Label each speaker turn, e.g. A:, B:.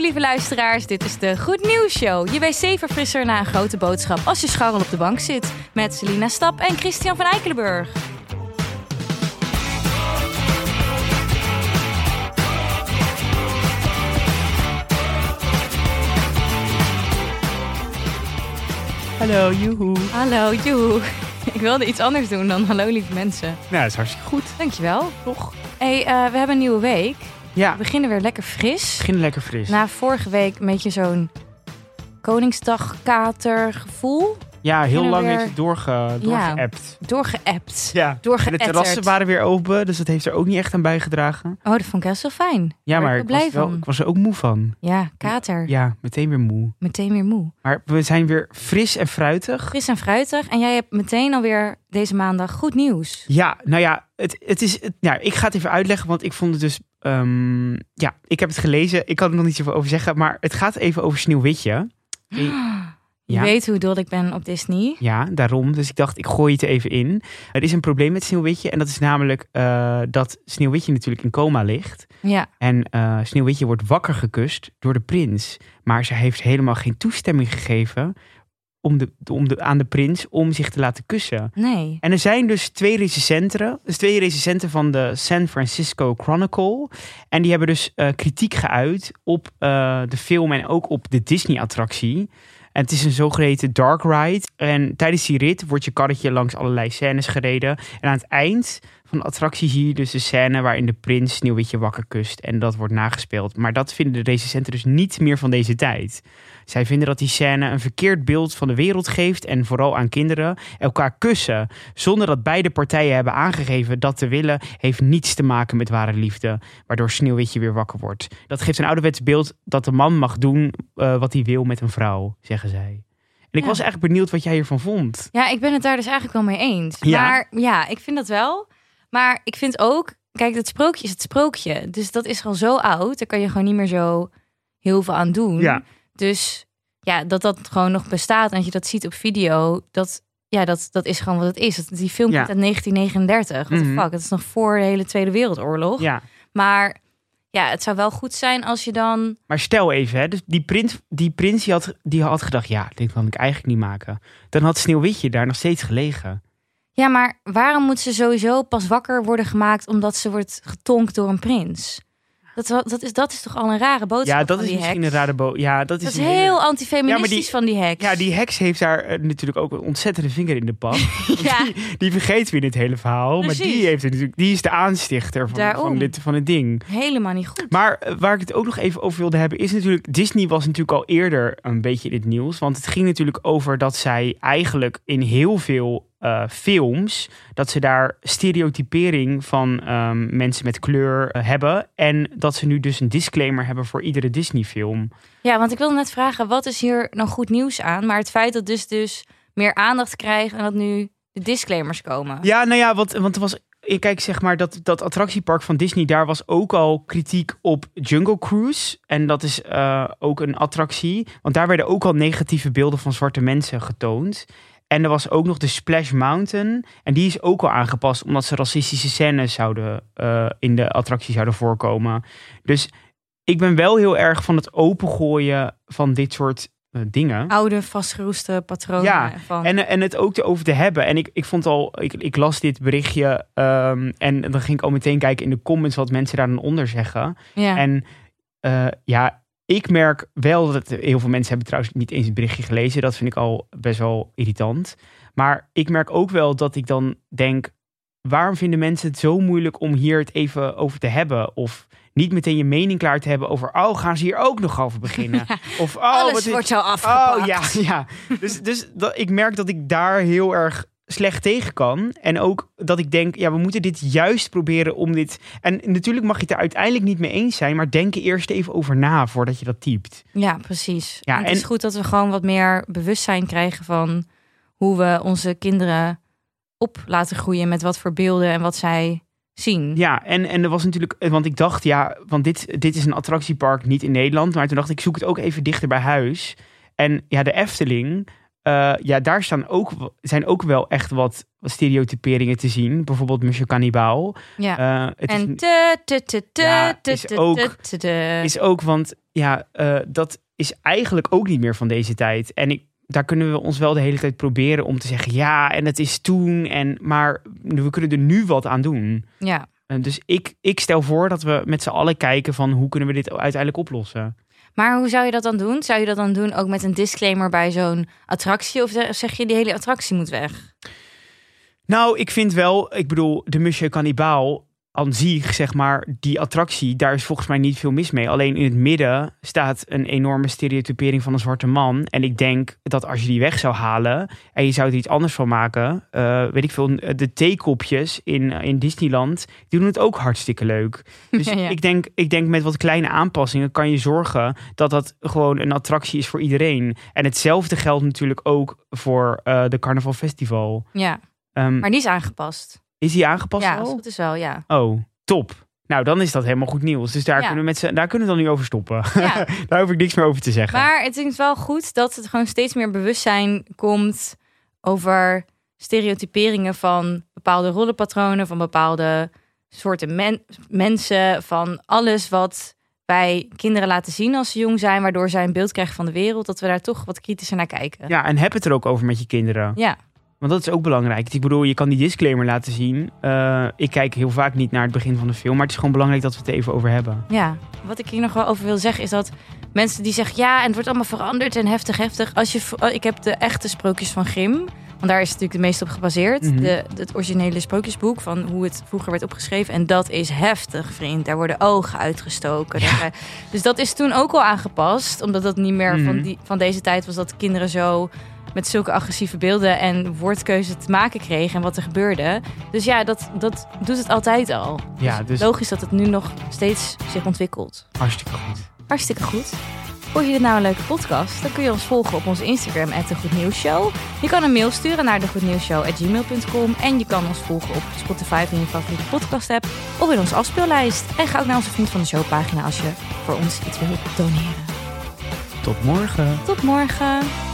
A: lieve luisteraars. Dit is de Goed Nieuws Show. Je wc-verfrisser na een grote boodschap als je scharrel op de bank zit. Met Selina Stap en Christian van Eikelenburg.
B: Hallo, joehoe.
A: Hallo, joe. Ik wilde iets anders doen dan hallo lieve mensen.
B: Nou, dat is hartstikke goed,
A: Dankjewel.
B: toch?
A: hey, eh, we hebben een nieuwe week.
B: Ja,
A: We beginnen weer lekker fris.
B: begin lekker fris.
A: Na vorige week een beetje zo'n Koningsdagkater gevoel.
B: ja, heel
A: beginnen
B: lang
A: weer-
B: heeft het doorge, doorgeappt.
A: Doorgeappt.
B: Ja. En de
A: Doorgeëtterd.
B: terrassen waren weer open, dus dat heeft er ook niet echt aan bijgedragen.
A: Oh, dat vond ik best wel fijn.
B: Ja,
A: Daar
B: maar
A: ben
B: ik
A: ik
B: was,
A: blij
B: wel,
A: van.
B: ik was er ook moe van.
A: Ja, kater.
B: Ja, meteen weer moe.
A: Meteen weer moe.
B: Maar we zijn weer fris en fruitig.
A: Fris en fruitig. En jij hebt meteen alweer deze maandag goed nieuws.
B: Ja, nou ja, het, het is, het- nou, ik ga het even uitleggen, want ik vond het dus... ehm, ja, ik heb het gelezen, ik kan er nog niet zoveel over zeggen, maar het gaat even over Sneeuwwitje.
A: Je
B: Ja.
A: weet hoe dol ik ben op Disney.
B: Ja, daarom. Dus ik dacht, ik gooi het er even in. Er is een probleem met Sneeuwwitje. En dat is namelijk eh, dat Sneeuwwitje natuurlijk in coma ligt.
A: Ja,
B: En eh, Sneeuwwitje wordt wakker gekust door de prins. Maar ze heeft helemaal geen toestemming gegeven om de, om de, aan de prins om zich te laten kussen.
A: nee.
B: En er zijn dus twee recensenten, dus twee recensenten van de San Francisco Chronicle. En die hebben dus eh, kritiek geuit op eh, de film en ook op de Disney-attractie. En het is een zogeheten dark ride. En tijdens die rit wordt je karretje langs allerlei scènes gereden. En aan het eind van de attractie zie je dus de scène waarin de prins Sneeuwwitje wakker kust. En dat wordt nagespeeld. Maar dat vinden de recensenten dus niet meer van deze tijd. Zij vinden dat die scène een verkeerd beeld van de wereld geeft. En vooral aan kinderen elkaar kussen. Zonder dat beide partijen hebben aangegeven dat te willen, heeft niets te maken met ware liefde. Waardoor Sneeuwwitje weer wakker wordt. Dat geeft een ouderwets beeld dat de man mag doen eh, wat hij wil met een vrouw, zeggen zij. En ik
A: Ja.
B: was eigenlijk benieuwd wat jij hiervan vond.
A: Ja, ik ben het daar dus eigenlijk wel mee eens.
B: Ja.
A: Maar ja, ik vind dat wel. Maar ik vind ook, kijk, dat sprookje is het sprookje. Dus dat is al zo oud. Daar kan je gewoon niet meer zo heel veel aan doen.
B: Ja.
A: Dus ja, dat dat gewoon nog bestaat. En als je dat ziet op video, dat, ja, dat, dat is gewoon wat het is. Dat, die film
B: Ja.
A: komt uit 1939. What
B: Mhm.
A: the fuck? Dat is nog voor de hele Tweede Wereldoorlog.
B: Ja.
A: Maar ja, het zou wel goed zijn als je dan.
B: Maar stel even, hè, dus die prins, die, prins die, had, die had gedacht, ja, dit kan ik eigenlijk niet maken. Dan had Sneeuwwitje daar nog steeds gelegen.
A: Ja, maar waarom moet ze sowieso pas wakker worden gemaakt omdat ze wordt getonkt door een prins? Dat, wa- dat, is, dat is toch al een rare boodschap.
B: ja, dat
A: van
B: is
A: die
B: misschien
A: heks?
B: een rare bo- Ja, dat is,
A: Dat is
B: een hele-
A: heel antifeministisch
B: Ja, maar die-
A: van die heks.
B: Ja, die heks heeft daar eh, natuurlijk ook een ontzettende vinger in de pan.
A: Ja.
B: Die, die vergeet weer dit hele verhaal. Maar
A: Precies.
B: die, heeft het natuurlijk, die is de aanstichter van,
A: Daarom.
B: van, dit, van het ding.
A: helemaal niet goed.
B: Maar eh, waar ik het ook nog even over wilde hebben, is natuurlijk. Disney was natuurlijk al eerder een beetje in het nieuws. Want het ging natuurlijk over dat zij eigenlijk in heel veel eh, films. dat ze daar stereotypering van ehm, mensen met kleur eh, hebben. En dat ze nu dus een disclaimer hebben voor iedere Disney-film.
A: Ja, want ik wilde net vragen, wat is hier nou goed nieuws aan? Maar het feit dat dus, dus meer aandacht krijgt en dat nu de disclaimers komen.
B: Ja, nou ja, want, want er was. ik Kijk, zeg maar, dat, dat attractiepark van Disney, daar was ook al kritiek op Jungle Cruise. En dat is eh, ook een attractie. Want daar werden ook al negatieve beelden van zwarte mensen getoond. En er was ook nog de Splash Mountain. En die is ook al aangepast, omdat ze racistische scènes zouden, eh, in de attractie zouden voorkomen. Dus ik ben wel heel erg van het opengooien van dit soort eh, dingen.
A: Oude, vastgeroeste patronen.
B: Ja,
A: van...
B: En, en het ook erover te hebben. En ik, ik vond al, ik, ik las dit berichtje ehm, en dan ging ik al meteen kijken in de comments wat mensen daar dan onder zeggen.
A: ja.
B: En eh, ja, ik merk wel dat heel veel mensen hebben trouwens niet eens het berichtje gelezen. Dat vind ik al best wel irritant. Maar ik merk ook wel dat ik dan denk, waarom vinden mensen het zo moeilijk om hier het even over te hebben? Of niet meteen je mening klaar te hebben over, oh, gaan ze hier ook nog over beginnen? Of, oh, wat
A: Alles
B: is-
A: wordt zo afgepakt.
B: Oh ja, ja. Dus, dus dat, ik merk dat ik daar heel erg slecht tegen kan. En ook dat ik denk, ja, we moeten dit juist proberen om dit... En natuurlijk mag je het er uiteindelijk niet mee eens zijn... maar denk er eerst even over na voordat je dat typt.
A: Ja, precies.
B: Ja,
A: en het is
B: en-
A: goed dat we gewoon wat meer bewustzijn krijgen van hoe we onze kinderen op laten groeien met wat voor beelden en wat zij zien.
B: Ja, en, en er was natuurlijk... Want ik dacht, ja, want dit, dit is een attractiepark niet in Nederland... maar toen dacht ik, zoek het ook even dichter bij huis. En ja, de Efteling... eh, ja, daar staan ook, zijn ook wel echt wat stereotyperingen te zien. Bijvoorbeeld Monsieur Cannibal.
A: Ja.
B: Eh, het is
A: en te te te te
B: Ja,
A: te
B: is
A: te
B: ook-
A: te te te.
B: is ook, want ja, eh, dat is eigenlijk ook niet meer van deze tijd. En ik, daar kunnen we ons wel de hele tijd proberen om te zeggen, ja, en het is toen, en, maar we kunnen er nu wat aan doen.
A: Ja.
B: En dus ik, ik stel voor dat we met z'n allen kijken van hoe kunnen we dit uiteindelijk oplossen.
A: Maar hoe zou je dat dan doen? Zou je dat dan doen ook met een disclaimer bij zo'n attractie? Of ze- zeg je die hele attractie moet weg?
B: Nou, ik vind wel, ik bedoel, de Monsieur Cannibaal aan zich, zeg maar, die attractie, daar is volgens mij niet veel mis mee. Alleen in het midden staat een enorme stereotypering van een zwarte man. En ik denk dat als je die weg zou halen en je zou er iets anders van maken, eh, weet ik veel, de theekopjes in, in Disneyland, die doen het ook hartstikke leuk. Dus
A: Ja, ja.
B: Ik, denk, ik denk met wat kleine aanpassingen kan je zorgen dat dat gewoon een attractie is voor iedereen. En hetzelfde geldt natuurlijk ook voor eh, de Carnaval Festival.
A: Ja,
B: Ehm,
A: maar die is aangepast.
B: is die aangepast
A: ja,
B: al?
A: als het goed is wel, ja.
B: Oh, top. Nou, dan is dat helemaal goed nieuws. Dus daar,
A: Ja.
B: kunnen, we met z'n- daar kunnen we dan nu over stoppen.
A: ja.
B: daar hoef ik niks meer over te zeggen.
A: Maar het is wel goed dat het gewoon steeds meer bewustzijn komt over stereotyperingen van bepaalde rollenpatronen, van bepaalde soorten men- mensen, van alles wat wij kinderen laten zien als ze jong zijn, waardoor zij een beeld krijgen van de wereld, dat we daar toch wat kritischer naar kijken.
B: Ja, en heb het er ook over met je kinderen.
A: Ja.
B: Want dat is ook belangrijk. Ik bedoel, je kan die disclaimer laten zien. Eh, ik kijk heel vaak niet naar het begin van de film. Maar het is gewoon belangrijk dat we het er even over hebben.
A: Ja, wat ik hier nog wel over wil zeggen is dat mensen die zeggen ja, en het wordt allemaal veranderd en heftig, heftig. Als je, v- oh, ik heb de echte sprookjes van Grimm, want daar is het natuurlijk de meeste op gebaseerd.
B: Mhm.
A: de, het originele sprookjesboek van hoe het vroeger werd opgeschreven. En dat is heftig, vriend. Daar worden ogen uitgestoken. Daar ga- Dus dat is toen ook al aangepast, omdat dat niet meer van,
B: Mhm.
A: die, van deze tijd was dat kinderen zo met zulke agressieve beelden en woordkeuze te maken kregen en wat er gebeurde. Dus ja, dat, dat doet het altijd al.
B: Ja, dus
A: Logisch dat het nu nog steeds zich ontwikkelt.
B: hartstikke goed.
A: Hartstikke goed. Vond je dit nou een leuke podcast? Dan kun je ons volgen op onze Instagram, de Goed Nieuws Show. Je kan een mail sturen naar degoednieuwsshow.gmail.com. En je kan ons volgen op Spotify in je favoriete podcast app of in onze afspeellijst. En ga ook naar onze Vriend van de Show pagina als je voor ons iets wilt doneren.
B: Tot morgen.
A: Tot morgen.